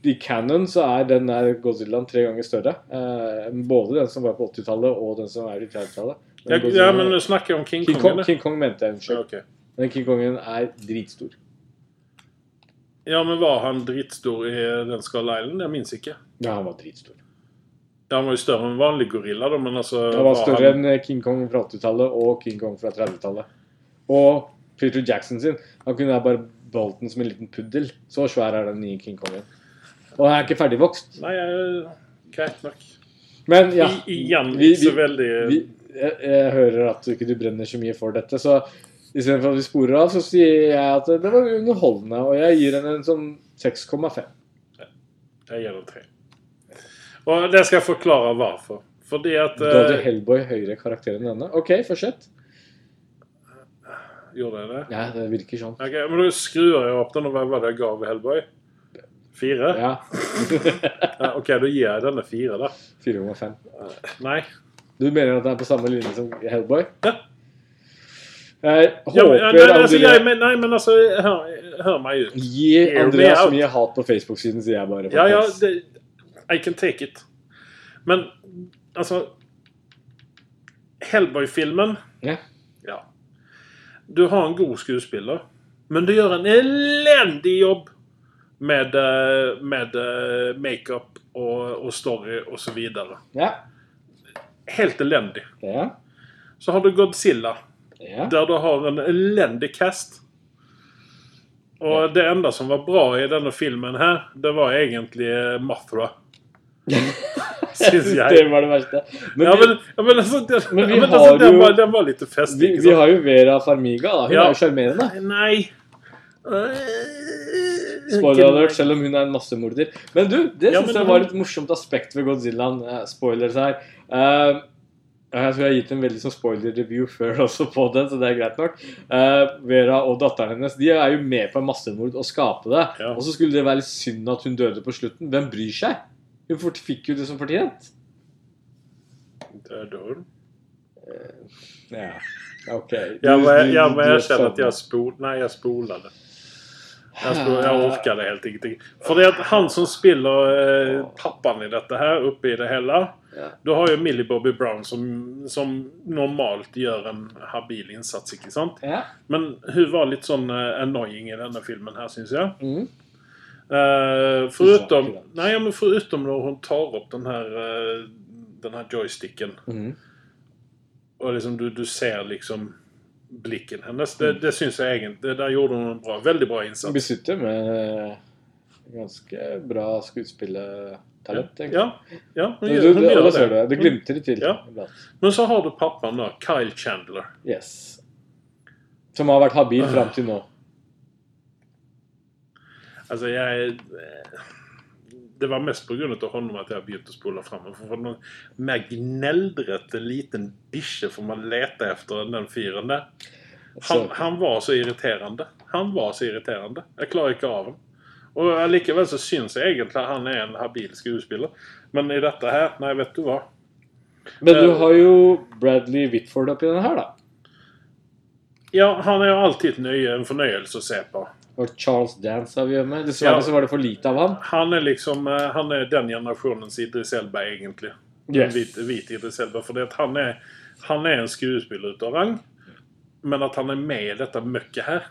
S2: i canon så er den der Godzillaen tre ganger større. Eh, både den som var på 80-tallet, og den som er i 30-tallet. Men
S1: jeg, Ja,
S2: Godzilla-
S1: men du snakker om King,
S2: King
S1: Kong,
S2: Kong,
S1: eller?
S2: King Kong mente jeg,
S1: Ja,
S2: unnskyld.
S1: ok.
S2: Den King Kongen er dritstor.
S1: ja, men var han dritstor i den Skull Island? Jeg minnes ikke.
S2: Ja, han var dritstor.
S1: Ja, han var jo større enn en vanlig gorilla, da, men altså
S2: Han var større
S1: han-
S2: enn King Kong fra 80-tallet og King Kong fra 30-tallet. Og Peter Jackson sin. Han kunne ha bare beholdt den som en liten puddel. Så svær er den nye King Kongen. Og han er ikke ferdigvokst.
S1: Nei, eh, greit nok.
S2: Men ja
S1: I, igjen
S2: vi-
S1: ikke så eh,
S2: vi-
S1: veldig
S2: vi, jeg, jeg hører at du ikke du brenner så mye for dette, så istedenfor at vi sporer av, så sier jeg at det var underholdende, og jeg gir henne en sånn 6,5.
S1: Jeg gir det tre. Og det skal jeg forklare hvorfor. Fordi at
S2: Da hadde
S1: eh,
S2: Hellboy høyere karakter enn denne. OK, fortsett.
S1: Gjorde jeg det?
S2: Ja, det virker sånn.
S1: Ok, men da skrur jeg opp den, og hva var det jeg ga Hellboy? Fire?
S2: Ja.
S1: Ja, ok, da gir jeg denne fire, da.
S2: 4,5.
S1: Nei.
S2: Du mener at det er på samme linje som Hellboy?
S1: Ja.
S2: Jeg
S1: Ja,
S2: håper
S1: men, eh, alltså, ja, nei,
S2: at
S1: altså,
S2: dere
S1: jeg, men, nei, men altså, hør, hør meg ut.
S2: Gi
S1: Hear me
S2: Andreas
S1: out.
S2: mye hat på Facebook-siden, sier jeg bare.
S1: Ja, ja,
S2: folkens.
S1: det, I can take it. Men altså Hellboy-filmen
S2: Ja.
S1: Ja. Du har en god skuespiller, men du gjør en elendig jobb med, eh, med eh, makeup og, og story og så videre.
S2: ja.
S1: Helt elendig.
S2: ja.
S1: Så har du Godzilla,
S2: ja.
S1: der du har en elendig cast. Og det enda som var bra i denne filmen her, det var egentlig eh, Mothra. Syns jeg.
S2: Det var det verste. Men,
S1: ja,
S2: vi-
S1: men, ja, men altså, det,
S2: Men vi
S1: ja, men,
S2: har
S1: altså den,
S2: jo-
S1: var, den var litt festlig. liksom.
S2: Vi,
S1: ikke
S2: vi
S1: sant?
S2: har jo Vera Farmiga. da. Hun
S1: Ja.
S2: er jo sjarmerende.
S1: Nei
S2: Spoiler alert, selv om hun er en massemorder. Men du, det
S1: Ja,
S2: synes
S1: men-
S2: jeg var et morsomt aspekt ved Godzillaen. Eh, Spoilers her. Eh, jeg tror jeg har gitt en veldig sånn spoiler-review før også på den, så det er greit nok. Eh, Vera og datteren hennes de er jo med på en massemord og skape det.
S1: Ja.
S2: Og så skulle det være litt synd at hun døde på slutten. Hvem bryr seg? Hun fort- fikk jo det som fortjent.
S1: Døde hun?
S2: Ja, ok. Du-
S1: Ja, men jeg,
S2: du-
S1: ja,
S2: du-
S1: men
S2: du er
S1: jeg kjenner at jeg
S2: sånn.
S1: spol... Nei, jeg spoler det. Jeg, spol, jeg orker det helt ingenting. Fordi at han som spiller eh, pappaen i dette her, oppe i det hele
S2: Ja.
S1: Du har jo Millie Bobby Brown, som, som normalt gjør en habil innsats, ikke sant?
S2: Ja.
S1: Men hun var litt sånn eh, annoying i denne filmen her, syns jeg.
S2: Mm.
S1: Eh, förutom,
S2: Saker.
S1: nej, men förutom när hon tar upp den här, eh, den här joysticken.
S2: Mm.
S1: Och liksom du, du ser liksom blicken hennes. Det,
S2: Mm.
S1: det syns jag egentligen. Det där gjorde hon en bra, väldigt bra
S2: Som
S1: insats.
S2: besitter med ganske bra skuespillertalent. egentlig.
S1: Ja, ja hon,
S2: Du,
S1: gör,
S2: du,
S1: hon
S2: du,
S1: gör
S2: alle ser det.
S1: det. Mm.
S2: Det glimter i til.
S1: Ja.
S2: iblant.
S1: Men så har du pappan då, Kyle Chandler.
S2: Yes. Som har vært
S1: Ah.
S2: habil fram til nå.
S1: Alltså jag... eh, Det var mest på grund av honom att jag begynte spola fram. För någon mer gnällrätt liten bische får man leta efter än den fyren där. Han,
S2: Så-
S1: han var så irriterende. Han var så irriterende. Jeg klarer ikke av ham. Og likevel så syns jeg egentlig han er en habil skuespiller. Men i dette her Nei, vet du hva.
S2: Men
S1: eh,
S2: du har jo Bradley Whitford oppi den her, da.
S1: Ja, han er jo alltid et nøye, en fornøyelse å se på.
S2: Og Charles Dance har vi hjemme. Dessverre
S1: Ja.
S2: så var det for lite av han.
S1: Han er liksom eh, Han er den generasjonens Idris Elba, egentlig. En
S2: Yes.
S1: Hvit, hvit Idris Elba. For han, er- han er en skuespiller ute av rang. Men at han er med i dette møkket her,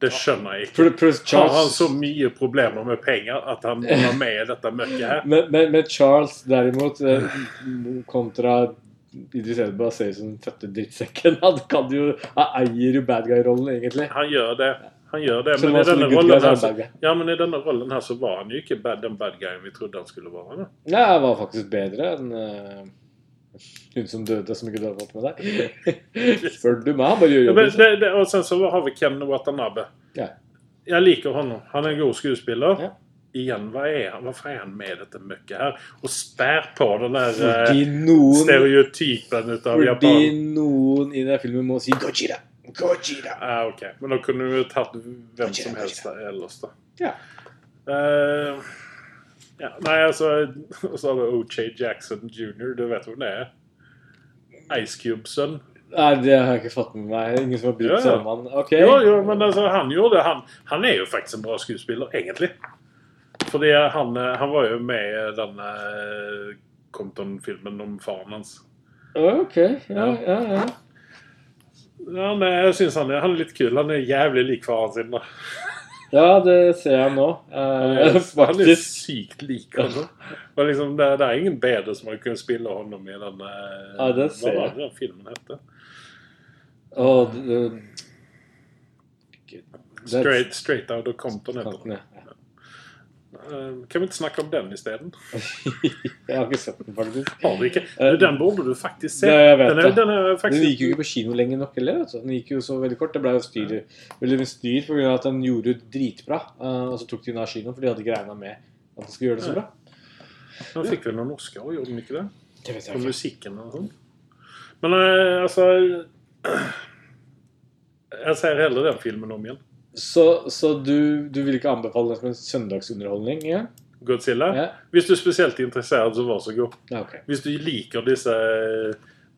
S1: det skjønner jeg ikke.
S2: Pl- Pluss
S1: Har han
S2: Charles
S1: så mye problemer med penger at han var med i dette møkket her?
S2: men, men, men Charles derimot, eh, kontra Idris Elba, ser ut som den fødte drittsekken. Han, kan jo, han eier jo bad guy-rollen, egentlig.
S1: Han gjør det. Han gjør det.
S2: Så
S1: Men
S2: det
S1: i,
S2: var
S1: denne
S2: sånn good
S1: rollen alltså.
S2: guys
S1: her,
S2: and
S1: så,
S2: bad guy.
S1: ja, men i denne rollen her så var han jo ikke bad, den bad guyen vi trodde han skulle være. Da.
S2: Ja, jeg var faktisk bedre enn eh, hun som døde, som ikke døde opp med deg. Spør du meg, han bare gjør
S1: Ja, men
S2: jobben sin.
S1: det, det, og sen så har vi Ken Watanabe.
S2: Ja.
S1: Jeg liker ham. Han er en god skuespiller.
S2: Ja.
S1: Igjen, hva er han? Hvorfor er han med i dette møkket her? Og spær på den der eh,
S2: Fordi noen,
S1: stereotypen ut av
S2: fordi
S1: Japan.
S2: noen i den filmen må si 'Gojira'. Gojira.
S1: Ja, ok. Ah, Men da kunne vi jo tatt hvem som helst der ellers, da.
S2: Ja.
S1: Eh, ja. Nei, altså Og så har du O.J. Jackson jr. Du vet hvem det er? Ice Cube-sønn.
S2: Nei, det har jeg ikke fått med meg. Ingen som har brydd
S1: Ja,
S2: seg
S1: ja.
S2: om han. Ok.
S1: Jo, jo, men altså, han gjorde det. Han, han er jo faktisk en bra skuespiller, egentlig. Fordi han, eh, han var jo med i den eh, Compton-filmen om faren hans.
S2: Ok, ja, ja, ja.
S1: Ja, nei, jeg syns han, er- han er litt kul. Han er jævlig lik faren sin. da.
S2: Ja, det ser jeg nå. Eh,
S1: Han er
S2: faktisk.
S1: sykt lik altså. Men liksom, det, det er ingen bedre som har kunnet spille honom i den eh,
S2: Ja, det ser
S1: Hva var
S2: jeg.
S1: det den filmen het?
S2: Å, det- That's-
S1: Straight, straight Out of Compton. heter den.
S2: Kanten, ja.
S1: Eh, Kan vi ikke snakke om den isteden?
S2: Jeg har ikke sett den, faktisk.
S1: Har vi ikke? Men Den burde du faktisk se.
S2: Det, jeg Eh, vet
S1: Den er,
S2: det.
S1: den er
S2: Den
S1: faktisk
S2: gikk jo ikke på kino lenge nok heller. Altså. Den gikk jo så veldig kort. Det ble jo styr, veldig mye styr på grunn av at den gjorde det dritbra. eh, og så tok de den av kinoen, for de hadde ikke regna med at den skulle gjøre det så bra.
S1: Den fikk vel noen Oscar, gjorde den ikke det?
S2: Det vet
S1: For
S2: jeg ikke.
S1: musikken og sånn. Men eh, altså Jeg ser heller den filmen om igjen.
S2: Så, så du, du vil ikke anbefale den som en søndagsunderholdning? Ja?
S1: Godzilla.
S2: Ja?
S1: Hvis du er spesielt interessert, så vær så god.
S2: Ja, ok.
S1: Hvis du liker disse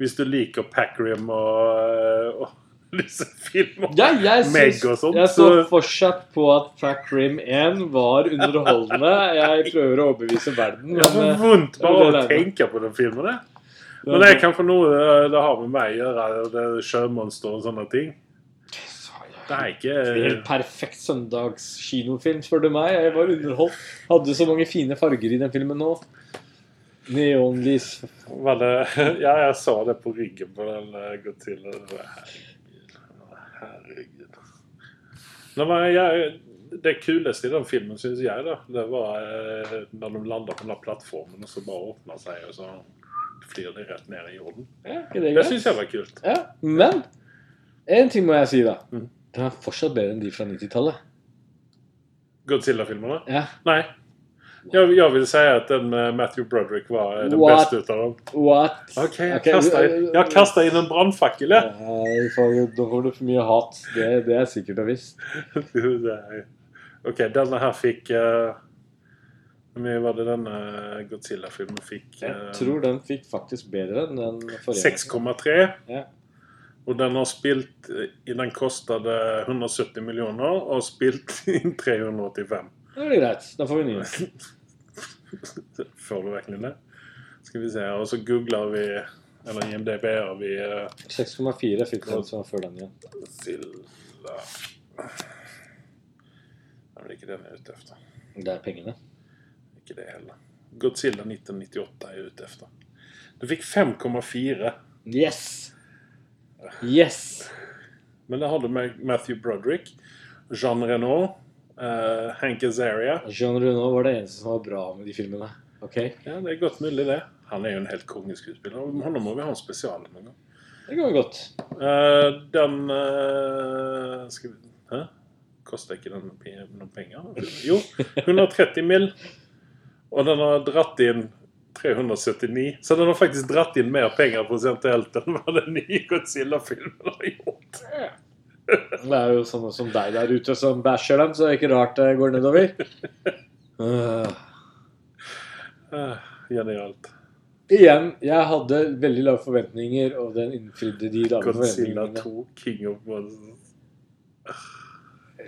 S1: Hvis du liker Packrim og, eh, og disse filmene
S2: Ja, jeg
S1: Meg
S2: syns,
S1: og sånt,
S2: jeg står
S1: så-
S2: fortsatt på at Fact Rim 1 var underholdende. Jeg prøver å overbevise verden,
S1: Jeg får
S2: men
S1: vondt bare av
S2: det er
S1: å
S2: det.
S1: tenke på den filmen. der.
S2: eh,
S1: Men det er kanskje noe eh, det har med meg å gjøre, det er sjømonster og sånne ting. Det er
S2: Helt
S1: ikke
S2: perfekt søndagskinofilm, spør du meg. Jeg var underholdt. Hadde så mange fine farger i den filmen nå. Neonlys.
S1: var det, Ja, jeg så det på ryggen på den eh, Godzilla. Det var, Herregud. herregud. Nå, men jeg, det kuleste i den filmen, syns jeg, da, det var eh, når de landa på den der plattformen og så bare åpna seg, og så flyr de rett ned i jorden.
S2: Ja, ikke det
S1: Det
S2: greit?
S1: syns jeg var kult.
S2: Ja. Men én ting må jeg si, da.
S1: Mm.
S2: Den er fortsatt bedre enn de fra 90-tallet.
S1: Godzilla-filmene?
S2: Ja.
S1: Nei. Jeg, jeg vil si at den med Matthew Broderick var eh, den
S2: What? eh,
S1: beste ut av dem.
S2: What?
S1: Ok, jeg
S2: Ok,
S1: kastet inn, jeg kastet inn en brannfakkel, jeg.
S2: Nei, faen, nå får du for mye hat. Det, det er sikkert og visst.
S1: Nei. ok, denne her fikk eh, Hvor mye var det denne Godzilla-filmen fikk? eh,
S2: Jeg tror den fikk faktisk bedre enn den forrige.
S1: 6,3.
S2: Ja.
S1: Og den har spilt eh, Den kostet 170 millioner og har spilt inn 385.
S2: Da er det greit. Da får vi nye.
S1: Får du virkelig det? Skal vi se, og så googler vi Eller IMDb-er vi eh,
S2: 6,4 fikk den som var før den igjen.
S1: Godzilla Nei, men Det er ikke den jeg er ute efter.
S2: Det er pengene.
S1: Ikke det heller. Godzilla 1998 er jeg ute etter. Den fikk 5,4.
S2: Yes! Yes!
S1: Men det hadde Ma- Matthew Broderick, Jean Renault, eh, Hank Azaria
S2: Jean Reno var det eneste som var bra med de filmene. Ok?
S1: Ja, det er godt mulig, det. Han er jo en helt kongeskuespiller. Om han må vi ha en spesial en gang.
S2: Det går godt.
S1: Eh, den eh, skal vi, Hæ? Koster ikke den pe- noen penger? Jo, 130 mill. Og den har dratt inn 379. Så den har faktisk dratt inn mer penger prosentuelt enn hva den nye Godzilla-filmen har gjort.
S2: Det er jo sånne som deg der ute som bæsjer dem, så det er ikke rart det går nedover. Øh.
S1: Eh, Genialt.
S2: igjen, jeg hadde veldig lave forventninger, og den innfridde de lave
S1: Godzilla
S2: forventningene.
S1: 2, King of Monsters.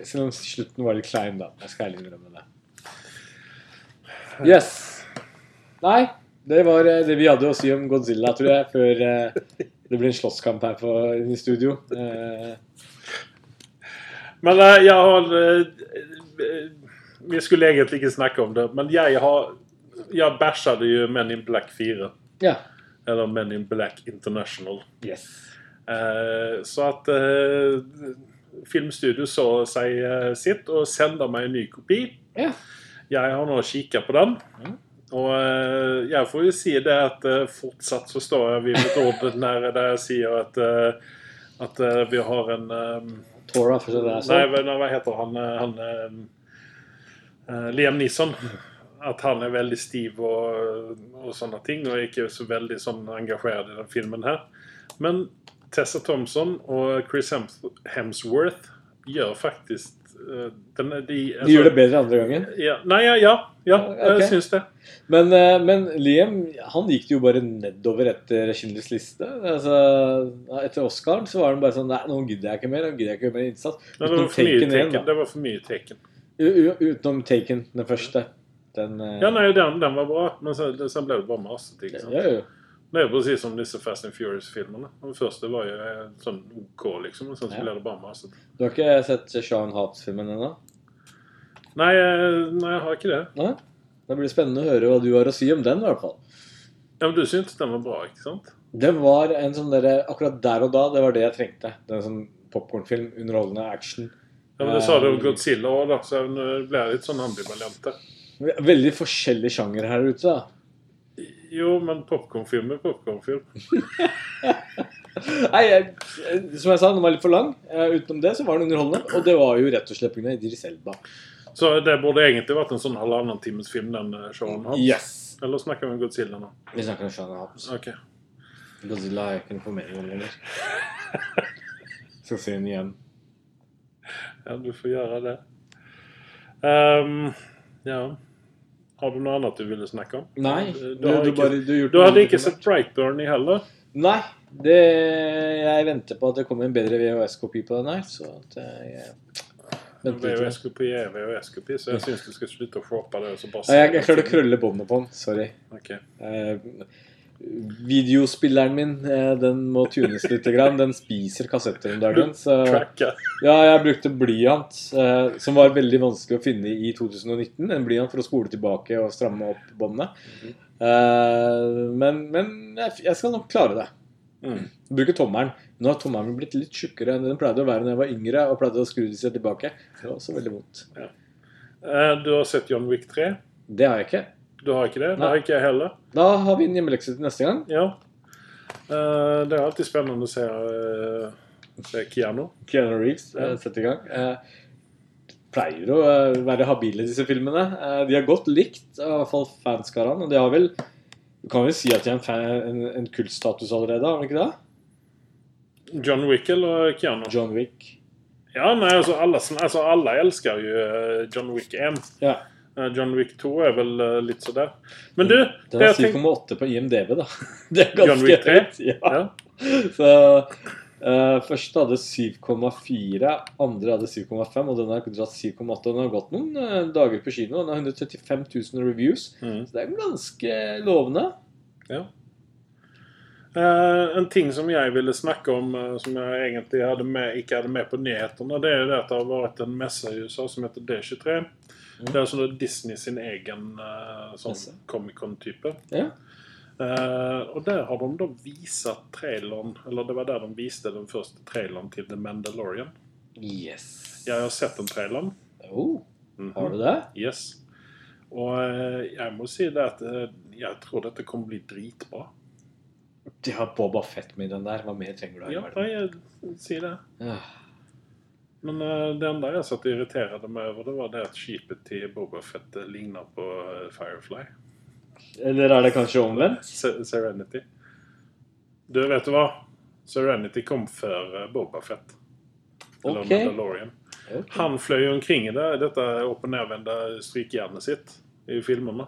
S2: Selv om slutten var litt klein, da. Jeg skal ærlig innrømme det. Yes. Nei, det var eh, det vi hadde å si om Godzilla, tror jeg, før eh, det ble en slåsskamp her på, i studio. Eh,
S1: Men eh, jeg har eh, eh, Vi skulle egentlig ikke snakke om det, men jeg har Jeg bæsja jo Men in Black 4.
S2: ja.
S1: Eller Men in Black International.
S2: Yes.
S1: Eh, så at eh, Filmstudio så seg eh, sitt og sender meg en ny kopi.
S2: Ja.
S1: Jeg har nå kikket på den.
S2: Mm.
S1: Og eh, jeg får jo si det at eh, fortsatt så står jeg ved mitt ord når der jeg sier at, eh, at eh, vi har en eh,
S2: Tora, for det er
S1: Nei,
S2: sånn.
S1: men hva heter han, eh, han eh, eh, Liam Neeson. At han er veldig stiv og, og sånne ting, og ikke så veldig sånn engasjert i den filmen her. Men Tessa Thompson og Chris Hems- Hemsworth gjør faktisk eh, den, de, altså-
S2: De gjør det bedre andre gangen.
S1: Ja, nei, ja, ja, ja
S2: Ok.
S1: jeg syns det.
S2: Men, eh, men Liam han gikk det jo bare nedover etter Schindlers liste. Altså, ja, etter Oscaren så var han bare sånn Nei, nå gidder jeg ikke mer. Nå gidder jeg ikke mer innsats.
S1: Men det, var
S2: Utenom
S1: for mye
S2: Taken igjen,
S1: teken,
S2: da.
S1: det var for mye teken.
S2: U- u- Utenom Taken, den første. Den eh,
S1: Ja, nei, den, den var bra, men så, så ble det bare masete. ikke sant?
S2: ja, jo.
S1: Det er jo precis som disse Fast and Furious-filmene. Den første var jo eh, sånn OK, liksom. Og sen så
S2: Ja.
S1: ble det bare masete.
S2: Du har ikke sett Sean Hatz-filmen ennå?
S1: Nei, eh, nei, jeg har ikke det.
S2: Nei? Det blir spennende å høre hva du har å si om den, i hvert fall.
S1: Ja, men Du syntes den var bra, ikke sant?
S2: Det var en sånn derre Akkurat der og da, det var det jeg trengte. Det er en sånn popkornfilm, underholdende action.
S1: Ja, men Det sa du om Godzilla òg, da, så nå ble jeg litt sånn ambivalent. der.
S2: Veldig forskjellig sjanger her ute, da.
S1: Jo, men popkornfilm er popkornfilm.
S2: Nei, jeg, som jeg sa, den var litt for lang. Eh, utenom det så var den underholdende. Og det var jo rett og slett pga. Idris Elba.
S1: Så det burde egentlig vært en sånn halvannen times film, den eh, showen hans.
S2: Yes.
S1: Eller snakker vi om Godzilla nå?
S2: Vi snakker om Shana Hobbs.
S1: Ok.
S2: Godzilla har jeg ikke noe formening om lenger. Skal se den igjen.
S1: Ja, du får gjøre det. Ehm, ja Har du noe annet du ville snakke om?
S2: Nei.
S1: Du,
S2: Du,
S1: du, har
S2: du,
S1: ikke,
S2: bare, du, har gjort
S1: du
S2: noe
S1: hadde
S2: annet
S1: ikke
S2: enn
S1: sett Brightburn i heller?
S2: Nei. Det, jeg venter på at det kommer en bedre VHS-kopi på den her. Så at eh, jeg venter litt. med det.
S1: VHS-kopi er VHS-kopi, så jeg syns du skal slutte å shoppe det. Og så bare
S2: Nei, Jeg, jeg klarte å krølle båndet på den. Sorry.
S1: Ok.
S2: Eh, videospilleren min eh, den må tunes litt. Grann. Den spiser kassetter om dagen. Så
S1: Tracker.
S2: ja, jeg brukte blyant, eh, som var veldig vanskelig å finne i 2019. En blyant for å spole tilbake og stramme opp båndet. Eh, men men jeg, jeg skal nok klare det.
S1: Mm.
S2: Bruke tommelen. Nå har tommelen min blitt litt tjukkere enn den pleide å være da jeg var yngre. og pleide å skru de seg tilbake. Det var også veldig vondt.
S1: Eh, Du har sett John Wick 3?
S2: Det har jeg ikke.
S1: Du har ikke det? Det
S2: Nei.
S1: har ikke jeg heller.
S2: Da har vi en hjemmelekse til neste gang.
S1: Ja. Eh, Det er alltid spennende å se, eh, se Keanu.
S2: Keanu Reeves eh, sette i gang. Eh, pleier å eh, være habile, disse filmene. Eh, de er godt likt, i hvert fall fanskaraen. Og de har vel Du kan vel si at de har en, fan, en, en kultstatus allerede, har de ikke det?
S1: John Wick eller Keanu?
S2: John Wick.
S1: Ja, nei, altså alle, sn- alltså altså, alle elsker jo eh, John Wick 1.
S2: Ja.
S1: Eh, John Wick 2 er vel eh, litt sådär. Men du, det
S2: Den er
S1: jeg tenkte
S2: 7,8 på IMDb, da. Det er
S1: John Wick
S2: ganske
S1: tre?
S2: høyt. Ja.
S1: ja.
S2: Så eh, første hadde 7,4, andre hadde 7,5, og den har dratt 7,8. og Den har gått noen eh, dager på kino. Den har 135 000 reviews,
S1: Mm.
S2: så det er ganske lovende.
S1: Eh, en ting som jeg ville snakke om, eh, som jeg egentlig hadde med, ikke hadde med på nyhetene, det er jo det at det har vært en messe i USA som heter D23.
S2: Mm.
S1: Det er sånn at Disney sin egen eh, sånn
S2: Messe.
S1: Comic-Con-type.
S2: Ja.
S1: Eh, og der har de da viset traileren, eller det var der de viste den første traileren til The Mandalorian.
S2: Yes.
S1: Jeg har sett den traileren.
S2: Oh,
S1: Mhm.
S2: har du det?
S1: Yes. Og eh, jeg må si det at eh, jeg tror dette kommer bli dritbra.
S2: De har Boba Fett med i den der. Hva mer trenger du? her i Ah.
S1: Ja,
S2: verden?
S1: nei, jeg sier det.
S2: Ja.
S1: Men eh, det enda jeg satt og irriterte meg over, det var det at skipet til Boba Fett eh, ligner på eh, Firefly.
S2: Eller er det kanskje omvendt?
S1: Se- Serenity. Du, vet du hva? Serenity kom før eh, Boba Fett. Eller
S2: Ok.
S1: Mandalorian.
S2: Ok.
S1: Han fløy jo omkring i det, dette opp- og nedvendte strykejernet sitt i filmene.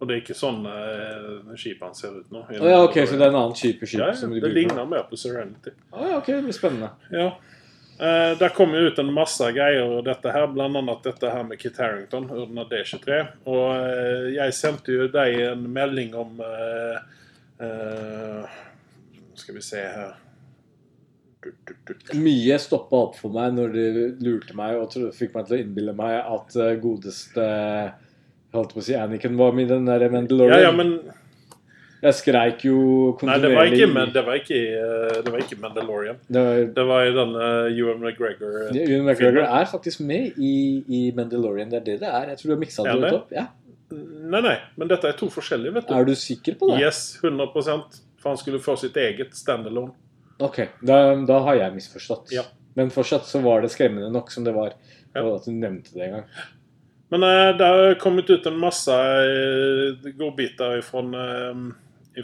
S1: Og det er ikke sånn eh, skipet han ser ut nå.
S2: Å Ah, ja, ok, så det er en annen type skip
S1: ja, ja,
S2: som de
S1: det
S2: bruker?
S1: ligner mer på Serenity.
S2: Å Ah, ja, ok, det blir spennende.
S1: Ja. Eh, der kom jo ut en masse greier og dette her, bl.a. dette her med Kit Harrington under D23. Og eh, jeg sendte jo deg en melding om eh, eh, Skal vi se her du, du, du, du.
S2: Mye stoppa opp for meg når de lurte meg og trodde, fikk meg til å innbille meg at eh, godeste jeg holdt på å si Anniken var med i den der Mandalorian.
S1: Ja, ja, men
S2: Jeg skreik jo
S1: Nei, det var ikke,
S2: kontinuerlig.
S1: men, det var ikke, eh, det var ikke Mandalorian.
S2: det var
S1: Det var i den uh, Ewan McGregor. eh,
S2: Ewan McGregor er faktisk med i, i Mandalorian. Det er det det er. Jeg tror du har miksa det
S1: Er det?
S2: litt opp. Ja.
S1: Nei, nei, men dette er to forskjellige, vet du.
S2: Er du sikker på det?
S1: Yes, 100 For han skulle få sitt eget standalone.
S2: Ok, da, da har jeg misforstått.
S1: Ja.
S2: Men fortsatt så var det skremmende nok som det var.
S1: Ja.
S2: Og at du nevnte det en gang.
S1: Men eh, det har kommet ut en masse eh, godbiter ifrån, eh,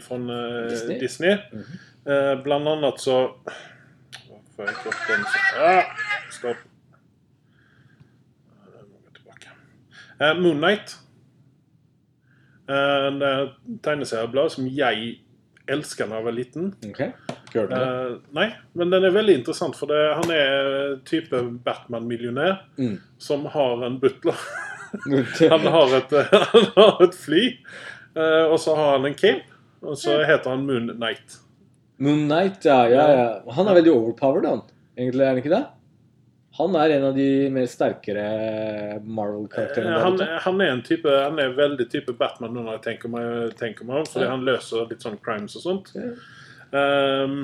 S1: ifrån eh,
S2: Disney.
S1: Disney.
S2: Mhm.
S1: Eh, bland annat så Åh, Får jeg ikke opp den så ah, Stopp. Jeg må gå tilbake. Eh, Moon Knight. Eh, det er et tegneserieblad som jeg elsket da jeg var liten.
S2: Ok, ikke hørte det.
S1: Eh, nei, men den er veldig interessant, for det, han eh, er type Batman-millionær
S2: Mm.
S1: som har en butler. Eh, Han har et, han har et fly, eh, og så har han en cape, og så heter han Moon Knight.
S2: Moon Knight, ja, ja, ja. Han er veldig overpowered, han. Egentlig, er han ikke det? Han er en av de mer sterkere Marvel-karakterene der
S1: Eh, Han,
S2: ute.
S1: han er en type, han er veldig type Batman nå når jeg tenker meg, tenker meg om, fordi
S2: Ja.
S1: han løser litt sånn crimes og sånt.
S2: Ja.
S1: Ehm,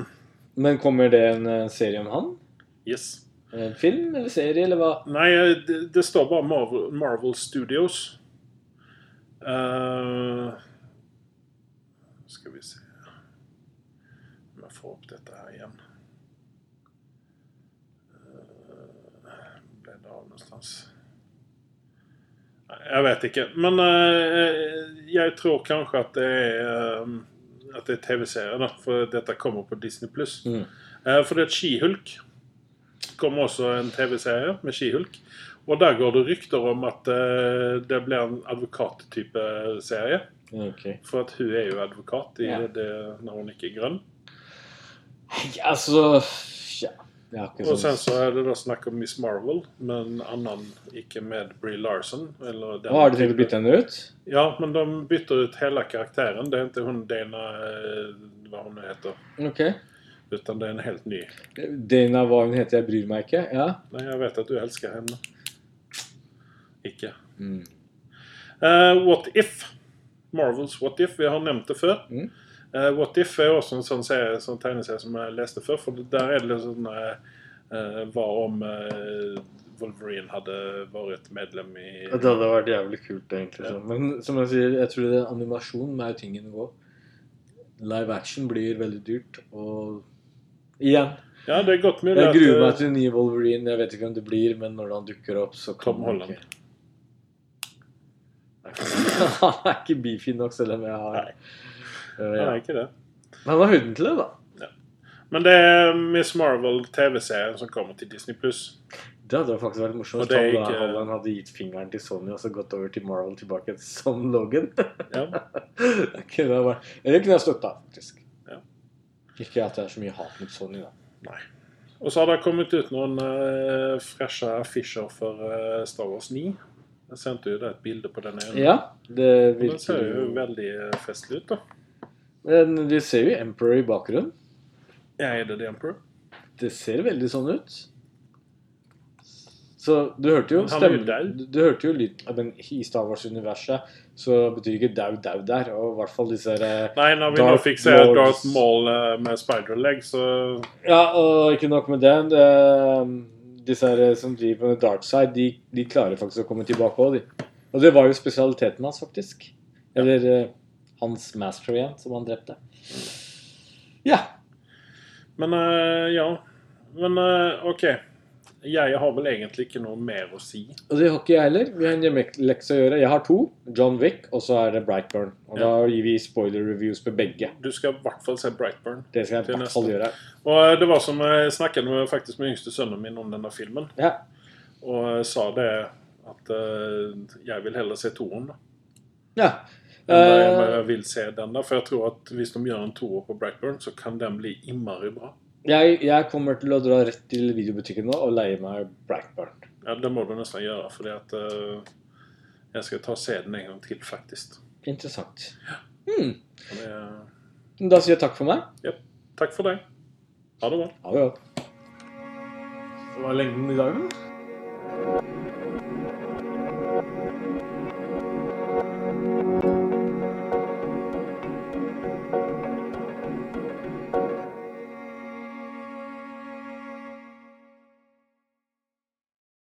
S2: Men kommer det en eh, serie om han?
S1: yes.
S2: En film eller serie eller hva?
S1: Nei, eh, det, det står bare Marvel, Marvel Studios. Ehm, skal vi se Om jeg får opp dette her igjen. Ehm, ble det av någonstans? Nei, Jeg vet ikke. Men eh, jeg tror kanskje at det er eh, At det er TV-serier, da. For dette kommer på Disney pluss.
S2: Mm.
S1: Eh, for det er Skihulk. kommer også en TV-serie med Skihulk. Og der går det rykter om at eh, det blir en advokattype serie.
S2: Ok.
S1: For at hun er jo advokat i
S2: Ja.
S1: det, når hun ikke er grønn.
S2: Ja, altså ja. Jeg har ikke
S1: Og sen
S2: sånn
S1: så er det da snakk om Miss Marvel, men annen ikke med Brie Larson. Eller den
S2: Hva Har de tenkt å
S1: typen.
S2: bytte henne ut?
S1: Ja, men de bytter ut hele karakteren. Det er ikke hun Dana eh, hva hun heter,
S2: Ok.
S1: utan det er en helt ny.
S2: Dana, hva hun heter, jeg bryr meg ikke. Ja.
S1: Nei, jeg vet at du elsker henne. Ikke.
S2: Mm.
S1: Eh, what If. Marvels What If. Vi har nevnt det før.
S2: Mm.
S1: Eh, What If er også en sånn, serie, sånn tegneserie som jeg leste før. For der er det litt sånn eh, eh, Hva om eh, Wolverine hadde vært medlem i
S2: Ja, Det hadde vært jævlig kult, egentlig.
S1: Ja.
S2: sånn. Men som jeg sier, jeg tror det er animasjon med tingen å gå. Live action blir veldig dyrt, og igjen
S1: Ja, det er godt mulig
S2: Jeg
S1: at
S2: gruer meg
S1: eh,
S2: til den nye Wolverine. Jeg vet ikke hvem det blir, men når han dukker opp, så kan
S1: Tom
S2: man
S1: Holland.
S2: ikke- Han er ikke beefy nok, selv om jeg har
S1: Nei.
S2: Øh,
S1: Nei,
S2: ja.
S1: ikke det.
S2: Men han har huden til det, da.
S1: Men det er Miss Marvel-TV-serien som kommer til Disney pluss.
S2: Det hadde jo faktisk vært morsomt
S1: Og
S2: hvis
S1: det eh, er
S2: Tom
S1: ikke-
S2: Holland hadde gitt fingeren til Sony og så gått over til Marvel tilbake som Logan.
S1: Ja.
S2: Det kunne jeg vært Det kunne jeg støtta, faktisk.
S1: Ja.
S2: Ikke at det er så mye hat mot Sony, da.
S1: Og så har det kommet ut noen uh, freshe affisjer for eh, Star Wars 9. Jeg sendte jo deg et bilde på den ene.
S2: Ja, det
S1: Den
S2: virker
S1: ser jo
S2: jo
S1: veldig eh, festlig ut, da.
S2: Men vi ser jo Emperor i bakgrunnen.
S1: Ja, er det The Emperor?
S2: Det ser veldig sånn ut. Så du hørte jo
S1: Men han er jo
S2: stemmen
S1: dau.
S2: du, du hørte jo lyd, men I Star Wars-universet så betyr ikke dau, dau der. Og i hvert fall disse her,
S1: Nei, når vi nå
S2: Darth
S1: fikk se
S2: Lords.
S1: Darth Maul eh, med spider-leg, så
S2: Ja, og ikke nok med det. det disse her som driver med dark side, de, de klarer faktisk å komme tilbake òg, de. Og det var jo spesialiteten hans, faktisk. Eller eh, hans master igjen, som han drepte. Ja.
S1: Men eh, ja. Men eh, OK. Jeg har vel egentlig ikke noe mer å si.
S2: Og det har ikke jeg heller. Vi har en hjemmelekse å gjøre. Jeg har to. John Wick, og så er det Brightburn. Og da gir vi spoiler reviews på begge.
S1: Du skal i hvert fall se Brightburn.
S2: Det skal jeg i
S1: Til
S2: hvert fall
S1: neste.
S2: gjøre.
S1: Og eh, det var som jeg snakket med, faktisk med yngste sønnen min om denne filmen,
S2: Ja.
S1: og jeg sa det at eh, jeg vil heller se toeren. da,
S2: ja.
S1: enn jeg- enn
S2: Eh,
S1: jeg vil se den da, For jeg tror at hvis de gjør en toer på Brightburn, så kan den bli innmari bra.
S2: jeg, jeg kommer til å dra rett til videobutikken nå og leie meg Brightburn.
S1: Ja, Det må du nesten gjøre, fordi at eh, jeg skal ta og se den en gang til, faktisk.
S2: Interessant. Hmm.
S1: Og det, er-
S2: Da sier jeg takk for meg.
S1: Takk for det. Ha det bra.
S2: Ha det godt. Det var lengden i dag, eller?